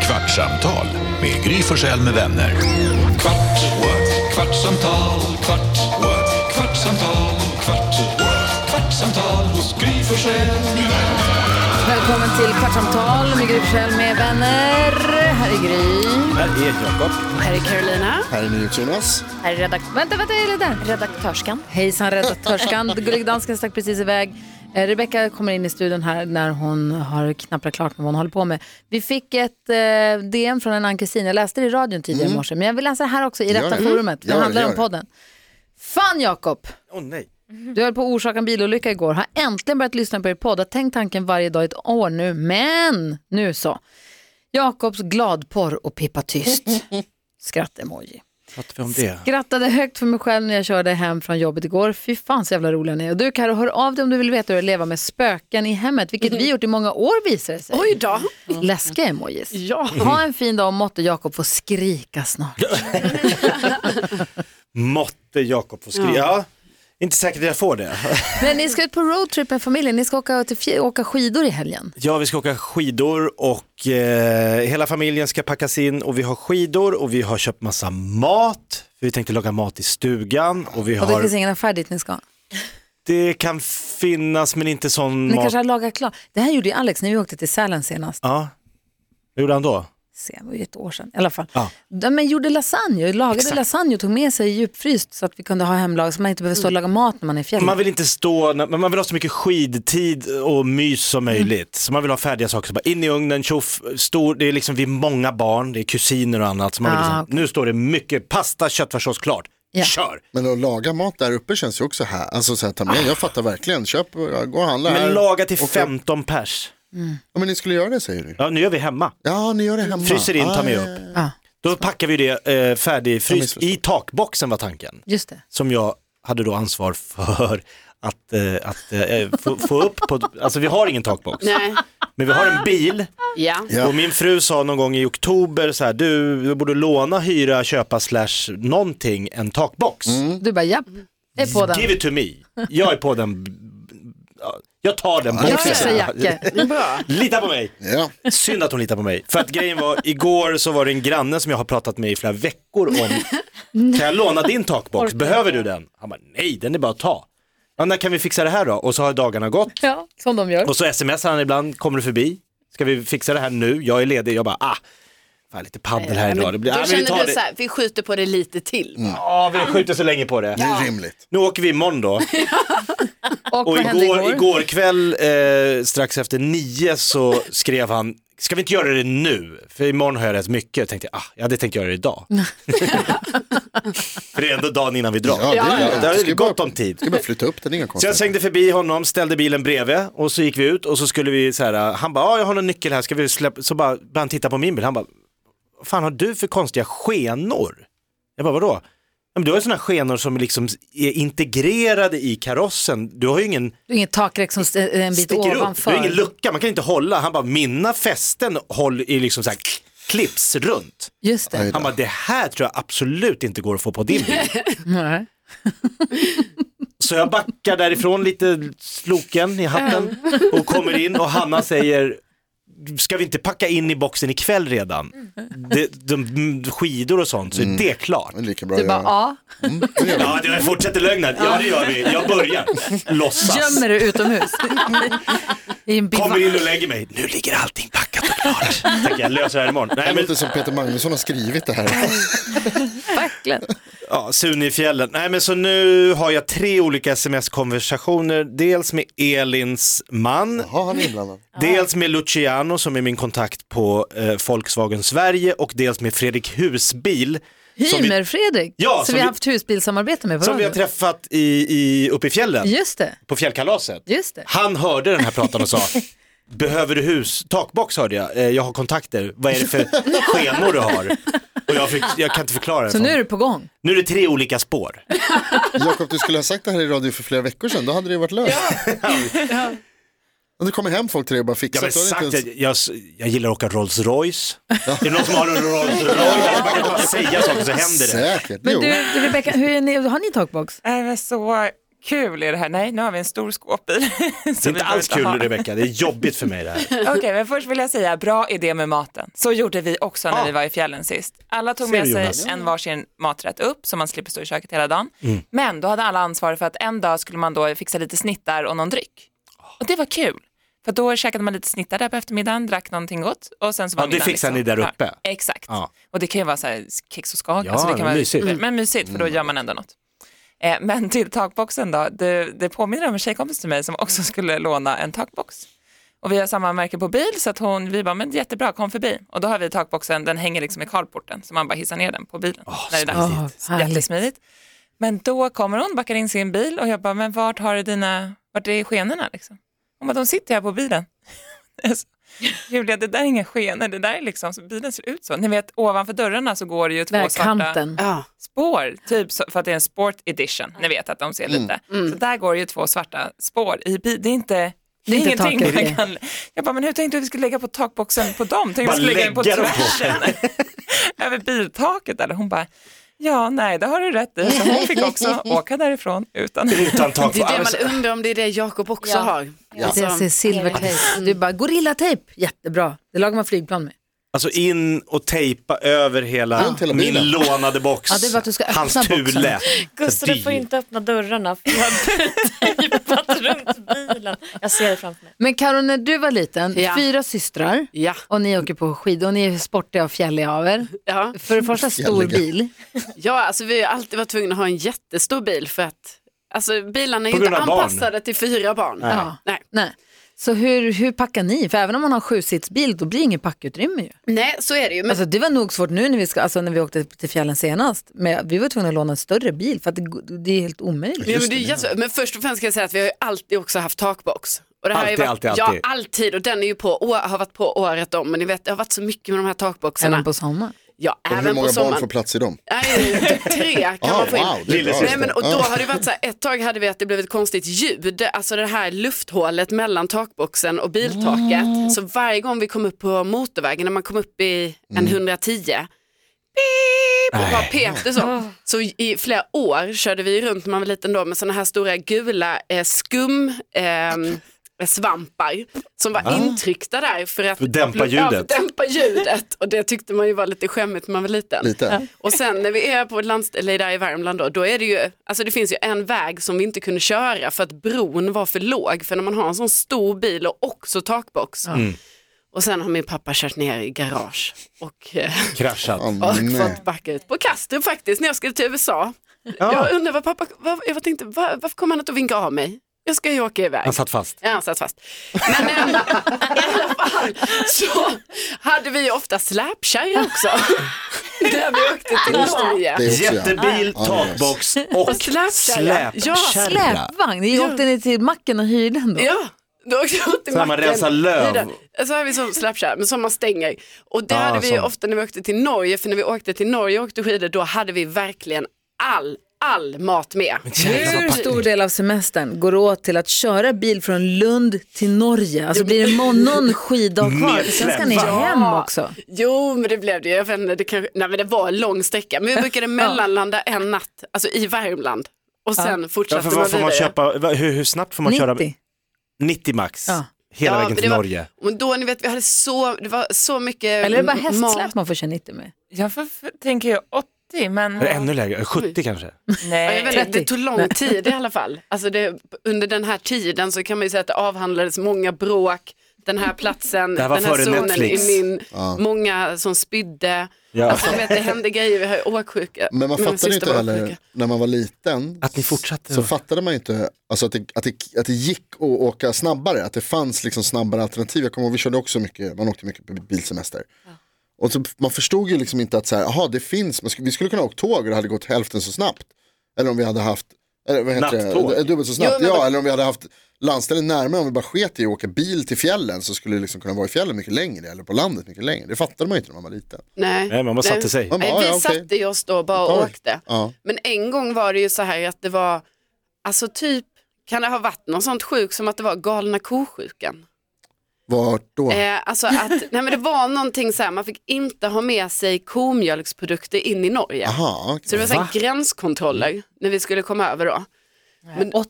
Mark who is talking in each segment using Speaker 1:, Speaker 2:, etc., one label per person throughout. Speaker 1: Kvartsamtal med Gry Forssell med vänner. Kvart, what? kvartsamtal, kvart, what? kvartsamtal, kvart, what? kvartsamtal hos Gry Forssell med vänner.
Speaker 2: Välkommen till Kvartsamtal med Gry Forssell med vänner. Här är Gry.
Speaker 3: Här är Jakob.
Speaker 2: Här är Carolina.
Speaker 3: Här är NyhetsJonas.
Speaker 2: Här är redak- vänta, vänta, är det där? Redaktörskan. Hejsan, redaktörskan. Gullig dansken stack precis iväg. Eh, Rebecka kommer in i studion här när hon har knapprat klart med vad hon håller på med. Vi fick ett eh, DM från en ann-Kristin. Jag läste det i radion tidigare i
Speaker 4: Mm.
Speaker 2: morse, men jag vill läsa det här också i
Speaker 4: Gör
Speaker 2: rätta
Speaker 4: det. Mm.
Speaker 2: forumet. Det
Speaker 4: Gör det,
Speaker 2: handlar
Speaker 4: gör
Speaker 2: om
Speaker 4: det.
Speaker 2: podden. Fan, Jakob!
Speaker 3: Åh nej.
Speaker 2: Du höll på att orsaka en bilolycka igår, har äntligen börjat lyssna på er podd, har tänkt tanken varje dag i ett år nu, men nu så. Jakobs gladporr och Pippa Tyst. Skratt-emoji.
Speaker 3: Pratar vi om det?
Speaker 2: Skrattade högt för mig själv när jag körde hem från jobbet igår. Fy fan så jävla roliga ni är. Och du Karo, hör av dig om du vill veta hur det är att leva med spöken i hemmet, vilket vi gjort i många år visar det sig. Mm. Oj då. Läskiga emojis. Ja. Ha en fin dag och måtte Jakob få skrika snart.
Speaker 3: Måtte Jakob få skriva. Ja. Inte säkert att jag får det.
Speaker 2: Men ni ska ut på roadtrip med familjen, ni ska åka, till, fjä- åka skidor i helgen.
Speaker 3: Ja, vi ska åka skidor och eh, hela familjen ska packas in och vi har skidor och vi har köpt massa mat. För vi tänkte laga mat i stugan och vi
Speaker 2: Och det
Speaker 3: har,
Speaker 2: finns ingen affär dit ni ska.
Speaker 3: det kan finnas men inte sån
Speaker 2: Ni
Speaker 3: mat.
Speaker 2: kanske har lagat klart. Det här gjorde ju Alex när vi åkte till Sälen senast.
Speaker 3: Ja, vad gjorde han då?
Speaker 2: Se, det var ju ett år sedan i alla fall.
Speaker 3: Ja.
Speaker 2: De men gjorde lasagne, lagade
Speaker 3: Exakt.
Speaker 2: lasagne och tog med sig djupfryst så att vi kunde ha hemlag så man inte behöver stå och laga mat när man är i fjällen.
Speaker 3: Mm. Man vill inte stå, men man vill ha så mycket skidtid och mys som
Speaker 2: Mm.
Speaker 3: möjligt. Så man vill ha färdiga saker, så bara in i ugnen, tjoff, stor, det är liksom vi är många barn, det är kusiner och annat. Så man vill
Speaker 2: Ah,
Speaker 3: liksom,
Speaker 2: okej.
Speaker 3: Nu står det mycket pasta, köttfärssås klart,
Speaker 2: Ja.
Speaker 3: kör!
Speaker 4: Men att laga mat där uppe känns ju också här. Alltså så här, ta med, jag fattar verkligen. Köp, och gå och handla här.
Speaker 3: Men laga till
Speaker 4: Och-
Speaker 3: 15 pers.
Speaker 4: Ja, men ni skulle göra det säger du.
Speaker 3: Ja, nu gör vi hemma.
Speaker 4: Ja, ni gör det hemma. Ah,
Speaker 3: Fryser in,
Speaker 2: Ah,
Speaker 3: tar med
Speaker 4: ja,
Speaker 3: upp.
Speaker 4: ja, ja.
Speaker 2: Ja,
Speaker 3: Då packar vi det eh, färdigfryst
Speaker 4: missförstått.
Speaker 3: i takboxen var tanken.
Speaker 2: just det.
Speaker 3: Som jag hade då ansvar för att, eh, att eh, få, få upp på, alltså vi har ingen takbox.
Speaker 5: Nej.
Speaker 3: Men vi har en bil
Speaker 5: Ja.
Speaker 4: Ja.
Speaker 3: Och min fru sa någon gång i oktober så här, du, du borde låna, hyra, köpa slash någonting, en takbox.
Speaker 5: Mm.
Speaker 2: Du bara japp, jag är på den.
Speaker 3: Give it to me. Jag är på den, ja, jag tar den
Speaker 2: Jag fixar
Speaker 3: boxen.
Speaker 2: Jacke.
Speaker 3: Lita på mig.
Speaker 4: Ja.
Speaker 3: Synd att hon litar på mig. För att grejen var, igår så var det en granne som jag har pratat med i flera veckor om, kan jag låna din takbox, behöver du den? Han bara, nej den är bara att ta. Ja, när kan vi fixa det här då? Och så har dagarna gått
Speaker 2: Ja, som de gör.
Speaker 3: och så smsar han ibland, kommer du förbi? Ska vi fixa det här nu? Jag är ledig, jag bara ah, fan lite paddel här idag. Det blir,
Speaker 5: Då
Speaker 3: ah, men vi tar
Speaker 5: känner du
Speaker 3: det. Mm.
Speaker 5: så här, vi skjuter på det lite till.
Speaker 3: Ja, vi skjuter så länge på det.
Speaker 4: det är rimligt.
Speaker 3: Nu åker vi imorgon då.
Speaker 2: Och,
Speaker 3: Och
Speaker 2: vad hände
Speaker 3: igår,
Speaker 2: igår?
Speaker 3: igår kväll eh, strax efter nio så skrev han, ska vi inte göra det nu? För imorgon har jag rätt mycket. Jag tänkte, ah, jag hade tänkt göra det idag. För det är ändå dagen innan vi drar.
Speaker 4: Ja, det är
Speaker 3: det,
Speaker 4: rimligt.
Speaker 3: det har
Speaker 4: Du ska
Speaker 3: ju gott
Speaker 4: bara-
Speaker 3: om tid.
Speaker 4: Ska bara flytta upp den, inga
Speaker 3: Så jag
Speaker 4: konstigheter.
Speaker 3: svängde förbi honom, ställde bilen bredvid och så gick vi ut och så skulle vi så här, han bara, ja jag har någon nyckel här, ska vi släppa, så bara började han titta på min bil, han bara, vad fan har du för konstiga skenor? Jag bara, vadå? Ja, men du har ju sådana skenor som liksom är integrerade i karossen, du har ju ingen,
Speaker 2: Det är inget takräck som st- är en bit
Speaker 3: sticker upp, du
Speaker 2: ovanför.
Speaker 3: har ingen lucka, man kan inte hålla, han bara, mina fästen håller i liksom så här klipps runt.
Speaker 2: Just det.
Speaker 4: Aj då.
Speaker 3: Han bara, det här tror jag absolut inte går att få på din bil.
Speaker 2: Nej.
Speaker 3: Så jag backar därifrån lite sloken i hatten och kommer in och Hanna säger Ska vi inte packa in i boxen ikväll redan? De, de, mm, skidor och sånt, så är det klart.
Speaker 4: Men lika bra
Speaker 2: Du
Speaker 4: att
Speaker 2: bara "Ah."
Speaker 4: göra.
Speaker 2: ja,
Speaker 4: Mm, det gör vi.
Speaker 3: Ja, det fortsätter lögnen. Ja, det gör vi. Jag börjar. Låtsas.
Speaker 2: gömmer du utomhus. I en bivack.
Speaker 3: Kommer in och lägger mig. Nu ligger allting packat och klart. Tänker jag löser det här imorgon. Nej,
Speaker 4: Det
Speaker 3: men,
Speaker 4: låter som Peter Magnusson har skrivit det här.
Speaker 2: Verkligen.
Speaker 3: ja, Sune i fjällen. Nej, men så nu har jag tre olika sms-konversationer. Dels med Elins man.
Speaker 4: Jaha, han är inblandad.
Speaker 3: Dels med Luciano som är min kontakt på eh, Volkswagen Sverige och dels med Fredrik Husbil som vi,
Speaker 2: Hymer-Fredrik,
Speaker 3: Ja,
Speaker 2: som
Speaker 3: som
Speaker 2: vi har
Speaker 3: vi-
Speaker 2: haft husbilsamarbete med på
Speaker 3: som vi har
Speaker 2: radio.
Speaker 3: träffat i, i, uppe i fjällen
Speaker 2: Just det,
Speaker 3: på fjällkalaset.
Speaker 2: just det.
Speaker 3: Han hörde den här pratan och sa Behöver du hus? Takbox hörde jag. Eh, jag har kontakter. Vad är det för skenor du har? Och jag, fick, jag kan inte förklara det.
Speaker 2: Så
Speaker 3: för
Speaker 2: nu är
Speaker 3: honom.
Speaker 2: du på gång.
Speaker 3: nu är det tre olika spår.
Speaker 4: Jakob, du skulle ha sagt det här i radio för flera veckor sedan. Då hade det ju varit löst. Men det kommer hem folk till dig och bara
Speaker 3: Jag,
Speaker 4: fixar
Speaker 3: har
Speaker 4: det. Då
Speaker 3: sagt,
Speaker 4: är det.
Speaker 3: jag,
Speaker 4: inte
Speaker 3: jag, jag gillar att åka Rolls Royce. Är det någon som har en Rolls Royce? Man kan bara säga saker så
Speaker 4: ens-
Speaker 3: händer det.
Speaker 4: Säkert,
Speaker 2: Men
Speaker 4: jo.
Speaker 2: du, Rebecca, hur är ni, har ni takbox?
Speaker 6: Nej, men så kul är det här? Nej, nu har vi en stor skåpbil.
Speaker 3: Det är inte alls kul Rebecka, det är jobbigt för mig det här.
Speaker 6: Okej, men först vill jag säga bra idé med maten. Så gjorde vi också när
Speaker 3: Ja.
Speaker 6: vi var i fjällen sist. Alla tog
Speaker 3: Ah. Ser
Speaker 6: med
Speaker 3: du,
Speaker 6: sig
Speaker 3: Jonas? Mm.
Speaker 6: en varsin maträtt upp så man slipper stå i köket hela dagen. Men då hade alla ansvar för att en dag skulle man då fixa lite snittar och någon dryck.
Speaker 3: Ah.
Speaker 6: Och det var kul. För då käkade man lite snittar där på eftermiddagen, drack någonting gott och sen så var
Speaker 3: Ja, det
Speaker 6: middagen
Speaker 3: fixar ni där uppe.
Speaker 6: Ja, exakt.
Speaker 3: Ja.
Speaker 6: Och det kan ju vara så här kex och skak. alltså,
Speaker 3: Ja,
Speaker 6: det kan
Speaker 3: men mysigt. Mm.
Speaker 6: Men, men mysigt, för då gör man ändå något. Eh, Men till takboxen då, det, det påminner om en tjejkompis till mig som också skulle låna en takbox. Och vi har samma märke på bil så att hon, vi bara, men jättebra, kom förbi. Och då har vi takboxen, den hänger liksom i carporten så man bara hissar ner den på bilen. när det är dags.
Speaker 2: smidigt. Åh, härligt.
Speaker 6: Jättesmidigt. Men då kommer hon, backar in sin bil och jag bara, men vart har du dina, vart är skenorna liksom? Hon bara, de sitter här på bilen. Jag sa, Julia, det där är inga skenor, det där är liksom, så bilen ser ut så. Ni vet, ovanför dörrarna så går det ju två
Speaker 2: Där
Speaker 6: svarta
Speaker 2: kanten.
Speaker 5: Ja.
Speaker 6: spår, typ så, för att det är en sport edition. Ni vet att de ser
Speaker 3: Mm.
Speaker 6: lite. Så där går det ju två svarta spår i bi- Det är inte... Det är
Speaker 2: inte
Speaker 6: ingenting
Speaker 2: taket, det.
Speaker 6: man kan... Jag bara, men hur tänkte du att vi skulle lägga på takboxen på dem? Tänkte
Speaker 3: Bara
Speaker 6: vi skulle lägga den på
Speaker 3: lägga dem på.
Speaker 6: tvärsen? Över biltaket eller? Hon bara, ja nej, det har du rätt i. Så hon fick också åka därifrån utan...
Speaker 3: Utan tak.
Speaker 5: Det är det
Speaker 3: Alltså,
Speaker 5: man undrar om det är det Jakob också har.
Speaker 2: Det ser
Speaker 5: Mm.
Speaker 2: silvertejp. Du bara, gorillatejp, jättebra. Det lagar man flygplan med.
Speaker 3: Alltså in och tejpa över hela
Speaker 4: Runt hela
Speaker 3: min
Speaker 4: bilen.
Speaker 3: lånade box.
Speaker 2: Ja, det är bara att du ska öppna
Speaker 3: Hans
Speaker 2: boxen.
Speaker 3: tule.
Speaker 7: Gustav, du får inte öppna dörrarna för jag har tejpat runt bilen. Jag ser det framför mig.
Speaker 2: Men Karo, när du var liten,
Speaker 5: Ja.
Speaker 2: fyra systrar
Speaker 5: Ja.
Speaker 2: och ni åker på skidor och ni är sportiga och fjälliga av er.
Speaker 5: Ja.
Speaker 2: För det första stor
Speaker 4: Fjälliga.
Speaker 2: bil.
Speaker 5: ja, alltså vi har alltid varit tvungna att ha en jättestor bil för att alltså, bilarna är
Speaker 3: På
Speaker 5: ju inte
Speaker 3: grund av barn.
Speaker 5: anpassade till fyra barn.
Speaker 2: Ja.
Speaker 5: Nej.
Speaker 2: Nej. Så hur, hur packar ni? För även om man har sjusitsbil då blir det inget packutrymme ju.
Speaker 5: Nej, så är det ju. Men
Speaker 2: Alltså, det var nog svårt nu när vi, ska, alltså, när vi åkte till fjällen senast. Men vi var tvungna att låna en större bil för att det, det är helt omöjligt.
Speaker 5: Ja, men, det är jätte- men först och främst ska jag säga att vi har ju alltid också haft takbox. Och det har ju
Speaker 3: Alltid,
Speaker 5: varit,
Speaker 3: alltid, alltid.
Speaker 5: Ja, alltid. Och den är ju på, å, har varit på året om. Men ni vet, det har varit så mycket med de här takboxarna.
Speaker 2: Även på sommaren.
Speaker 5: ja,
Speaker 4: Och
Speaker 5: även
Speaker 4: hur
Speaker 5: på
Speaker 4: många barn
Speaker 5: sommaren.
Speaker 4: får plats i dem?
Speaker 5: Nej, tre kan
Speaker 4: Ah,
Speaker 5: man få in.
Speaker 4: wow, det är bra. Ah.
Speaker 5: Nej, men, och då
Speaker 4: Ja.
Speaker 5: har det varit så här, ett tag hade vi att det blev ett konstigt ljud, alltså det här lufthålet mellan takboxen och biltaket.
Speaker 4: Ah.
Speaker 5: Så varje gång vi kom upp på motorvägen, när man kom upp i en
Speaker 4: Mm.
Speaker 5: 110, beep, och bara pep det så. Så i flera år körde vi runt när man var liten då med sådana här stora gula eh, skum, ehm, svampar som var intryckta där för att
Speaker 3: Ah. För att dämpa
Speaker 5: Ja, för att
Speaker 3: ljudet.
Speaker 5: dämpa ljudet och det tyckte man ju var lite skämmigt när man var liten.
Speaker 4: Lite.
Speaker 5: Och sen när vi är på ett landställe där i Värmland då, då är det ju, alltså det finns ju en väg som vi inte kunde köra för att bron var för låg. För när man har en sån stor bil och också takbox.
Speaker 3: Mm.
Speaker 5: Och sen har min pappa kört ner i garage och, eh,
Speaker 3: Kraschat.
Speaker 4: Åh,
Speaker 5: och
Speaker 4: nej.
Speaker 5: fått backa ut på Kastrup faktiskt när jag skulle till USA. Jag undrar vad pappa, vad, jag tänkte, var, varför kom han att vinka av mig? Jag ska ju åka iväg.
Speaker 3: Han satt fast.
Speaker 5: Ja, han satt fast. Men eh, i alla fall så hade vi ju ofta släpkärra också. Där vi åkte till Norge.
Speaker 4: Det är också jag.
Speaker 3: Jättebil,
Speaker 4: Ja.
Speaker 3: takbox och
Speaker 5: släpkärra. Ja,
Speaker 3: släpkärra.
Speaker 2: Släpvagn, ni åkte ni till macken och hyrde den då?
Speaker 5: Ja, då åkte jag till
Speaker 3: Så här man rensar löv. Ah,
Speaker 5: Vidare. Så har vi som släpkärra, men som man stänger. Och det
Speaker 3: Ja,
Speaker 5: hade vi
Speaker 3: sån.
Speaker 5: ofta när vi åkte till Norge, för när vi åkte till Norge och åkte skidor, då hade vi verkligen all, all mat med.
Speaker 2: Hur stor del av semestern går åt till att köra bil från Lund till Norge? Alltså blir det må- någon skiddag kvar? För sen ska ni
Speaker 3: släpvagn.
Speaker 2: hem också.
Speaker 5: Jo, men det blev det. Jag vet inte, det, kanske, nej, men det var en lång sträcka, men vi brukade mellanlanda en natt, alltså i Värmland. Och sen
Speaker 3: Ja,
Speaker 5: fortsatte
Speaker 3: för
Speaker 5: man
Speaker 3: vad får man
Speaker 5: vidare.
Speaker 3: köpa, va- hur, hur snabbt får man köra?
Speaker 2: 90.
Speaker 3: 90 max.
Speaker 2: Ja.
Speaker 3: Hela vägen
Speaker 5: men
Speaker 3: till
Speaker 5: det var,
Speaker 3: Norge.
Speaker 5: Och då, ni vet, vi hade så, det var så mycket
Speaker 2: Eller är det bara
Speaker 5: m- mat.
Speaker 2: hästsläp man får köra 90 med?
Speaker 6: Jag för, för, tänker ju 80 men...
Speaker 3: Eller ännu lägre, 70 kanske.
Speaker 5: Ja, jag vet,
Speaker 6: Nej.
Speaker 5: inte, det tog lång tid i alla fall. Alltså det, under den här tiden så kan man ju säga att det avhandlades många bråk, den här platsen,
Speaker 3: Det här var
Speaker 5: den här
Speaker 3: före
Speaker 5: zonen
Speaker 3: Netflix.
Speaker 5: är min,
Speaker 4: Ja.
Speaker 5: många som spydde.
Speaker 3: Ja.
Speaker 5: Alltså, du vet, det hände grejer, vi har ju åksjuka.
Speaker 4: Men man
Speaker 5: Min
Speaker 4: fattade
Speaker 5: syster
Speaker 4: inte
Speaker 5: var
Speaker 4: heller,
Speaker 5: åksjuk.
Speaker 4: när man var liten,
Speaker 3: Att ni fortsatte.
Speaker 4: så fattade man ju inte alltså att, det, att, det, att det gick att åka snabbare, att det fanns liksom snabbare alternativ. Jag kommer ihåg, vi körde också mycket, man åkte mycket på bilsemester. Och så, man förstod ju liksom inte att så här, aha, det finns, man skulle, vi skulle kunna åka tåg och det hade gått hälften så snabbt. Eller om vi hade haft, eller vad heter
Speaker 3: Nattåg.
Speaker 4: det, dubbelt så snabbt.
Speaker 5: men
Speaker 4: ja,
Speaker 5: vad-
Speaker 4: eller om vi hade haft landställen närmare, om vi bara sket i att åka bil till fjällen så skulle det liksom kunna vara i fjällen mycket längre, eller på landet mycket längre. Det fattade man ju inte när man var liten.
Speaker 5: Nej.
Speaker 3: Nej, men man satte
Speaker 5: Nej.
Speaker 3: sig.
Speaker 4: Man bara,
Speaker 5: Nej, vi
Speaker 4: ja, okej.
Speaker 5: satte ju oss då bara och
Speaker 4: Oj.
Speaker 5: åkte.
Speaker 4: Ja.
Speaker 5: Men en gång var det ju så här att det var, alltså typ, kan det ha varit någon sånt sjuk som att det var galna kosjukan?
Speaker 4: Vart då?
Speaker 5: Eh, alltså att, nej men det var någonting så här, man fick inte ha med sig komjölksprodukter in i Norge.
Speaker 3: Ah,
Speaker 4: Aha, okej.
Speaker 5: Så det var så här gränskontroller när vi skulle komma över då. Men-
Speaker 2: 80,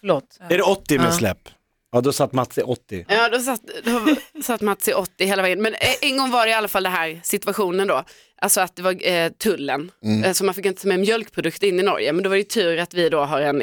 Speaker 2: förlåt.
Speaker 3: Är det 80 med
Speaker 2: Ja.
Speaker 3: släpp? Ja, då satt Mats i 80.
Speaker 5: Ja, då satt, då satt Mats i 80 hela vägen. Men eh, en gång var det i alla fall den här situationen då. Alltså att det var eh, tullen,
Speaker 3: Mm.
Speaker 5: eh, så man fick inte ta med mjölkprodukter in i Norge. Men då var det ju tur att vi då har en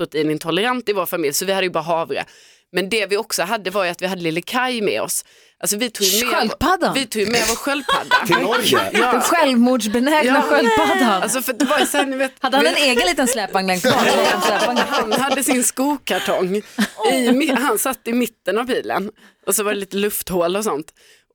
Speaker 5: komjölksproteinintolerant i vår familj, så vi hade ju bara havre. Men det vi också hade var ju att vi hade Lille Kaj med oss. Alltså vi tog ju med,
Speaker 2: Sköldpaddan.
Speaker 5: vi tog ju med vår
Speaker 3: Till
Speaker 5: sköldpadda.
Speaker 3: Norge?
Speaker 2: Den självmordsbenägna
Speaker 5: Ja.
Speaker 2: sköldpaddan.
Speaker 5: Alltså för det var ju så här, ni vet,
Speaker 2: Hade han en egen liten släpvagn längst bak? En släpvagn.
Speaker 5: han hade sin skokartong. I, mi- han satt i mitten av bilen och så var det lite lufthål och sånt.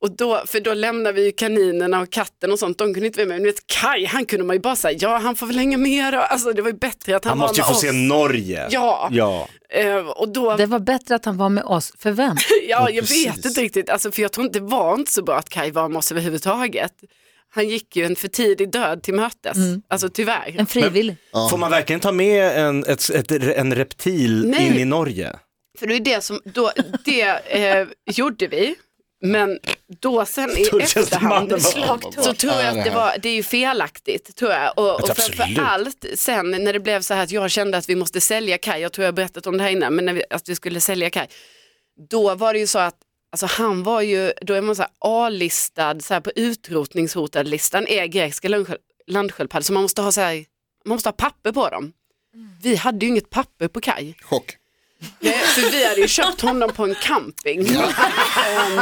Speaker 5: Och då, för då lämnade vi ju kaninerna och katten och sånt, de kunde inte vara med. Men du vet Kaj, han kunde man ju bara säga, ja han får väl hänga med då. Alltså det var ju bättre att han,
Speaker 3: Han
Speaker 5: var
Speaker 3: måste ju
Speaker 5: med
Speaker 3: få
Speaker 5: oss.
Speaker 3: se Norge.
Speaker 5: Ja.
Speaker 3: ja.
Speaker 5: Eh, och då,
Speaker 2: Det var bättre att han var med oss, för vem?
Speaker 5: ja jag
Speaker 4: precis.
Speaker 5: vet inte riktigt, alltså, för jag tror inte det var inte så bra att Kaj var med oss överhuvudtaget. Han gick ju en för tidig död till mötes, alltså tyvärr.
Speaker 2: Mm. En frivillig.
Speaker 3: Får man verkligen ta med en, ett, ett, en reptil
Speaker 5: Nej.
Speaker 3: in i Norge?
Speaker 5: För det är det som, då, det eh, gjorde vi, men då sen i
Speaker 3: Tulltjänstemannen
Speaker 5: efterhand
Speaker 3: bara,
Speaker 5: så tror jag att det var, det är ju felaktigt tror jag. Och, och
Speaker 3: Absolut.
Speaker 5: framför allt sen när det blev så här att jag kände att vi måste sälja Kaj, jag tror jag har berättat om det här innan, men när vi, att vi skulle sälja Kaj, då var det ju så att Alltså han var ju, då är man så här A-listad, så här på utrotningshotad-listan är grekiska landsköld- landsköldpaddor, så man måste ha så här, man måste ha papper på dem. Vi hade ju inget papper på Kaj.
Speaker 4: Chock.
Speaker 5: Nej, för vi hade ju köpt honom på en camping. Ehm,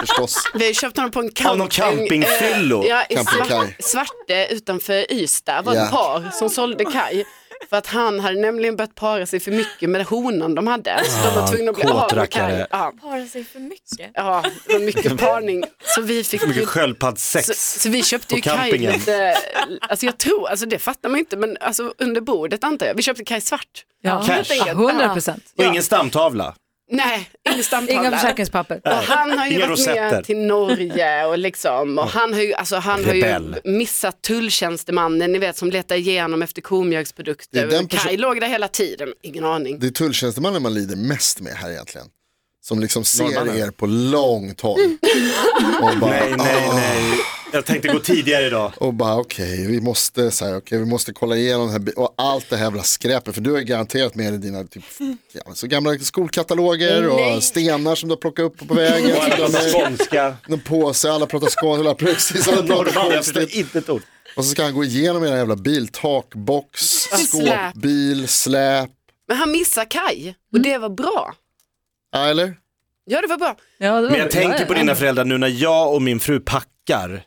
Speaker 4: Förstås.
Speaker 5: vi hade köpt honom på en
Speaker 3: Av
Speaker 5: camping.
Speaker 3: någon campingfyllo.
Speaker 5: eh, Ja, i
Speaker 4: Campingkaj.
Speaker 5: svart, Svarte utanför Ystad var
Speaker 4: Ja.
Speaker 5: ett par som sålde Kaj. För att han hade nämligen börjat para sig för mycket med honan de hade. Så de var tvungna att bli av med
Speaker 3: kåtrackare.
Speaker 5: Kaj. Ja,
Speaker 7: Para sig för mycket.
Speaker 5: ja, det var mycket parning. Så vi fick ju
Speaker 3: Mycket
Speaker 5: så,
Speaker 3: sköldpaddssex.
Speaker 5: så vi köpte ju
Speaker 3: På
Speaker 5: Kaj
Speaker 3: campingen.
Speaker 5: lite, alltså jag tror, alltså det fattar man inte, men alltså under bordet antar jag. Vi köpte Kaj svart.
Speaker 2: Ja,
Speaker 3: Cash.
Speaker 2: 100 procent.
Speaker 3: Och ingen stamtavla.
Speaker 5: Nej, ingen stamtavla.
Speaker 2: Inga försäkringspapper.
Speaker 5: Och han har ju
Speaker 3: Inga
Speaker 5: varit
Speaker 3: rosetter.
Speaker 5: med till Norge och liksom, och han har ju, alltså, han har ju
Speaker 3: Rebell.
Speaker 5: missat tulltjänstemannen, ni vet som letar igenom efter
Speaker 4: Det är den
Speaker 5: komjölksprodukter.
Speaker 4: perso-
Speaker 5: Kaj låg där hela tiden, ingen aning.
Speaker 4: Det är tulltjänstemannen man lider mest med här egentligen. Som liksom ser
Speaker 3: Norrmannen.
Speaker 4: er på långt håll. Och bara,
Speaker 3: Nej, nej,
Speaker 4: "Ah."
Speaker 3: nej. Jag tänkte gå tidigare idag.
Speaker 4: Och bara okej, vi måste så här, okej, vi måste kolla igenom det här bi- och allt det här jävla skräpet för du har garanterat med dig dina typ, ja, så gamla skolkataloger och stenar som du har plockat upp på vägen.
Speaker 3: Och
Speaker 4: som
Speaker 3: alla
Speaker 4: du har
Speaker 3: pratar
Speaker 4: med,
Speaker 3: skånska.
Speaker 4: någon påse, alla pratar skånska, precis alla pratar
Speaker 3: Norrman, jag förstår
Speaker 4: konstigt.
Speaker 3: inte ett ord.
Speaker 4: Och så ska han gå igenom era jävla bil, takbox,
Speaker 5: Släp.
Speaker 4: skåpbil, släp,
Speaker 5: Men han missar Kaj och det var bra.
Speaker 4: ja, eller?
Speaker 5: Ja det var bra.
Speaker 2: Ja, det var
Speaker 3: Men jag
Speaker 2: bra.
Speaker 3: tänker på
Speaker 2: Ja,
Speaker 3: dina föräldrar nu när jag och min fru packar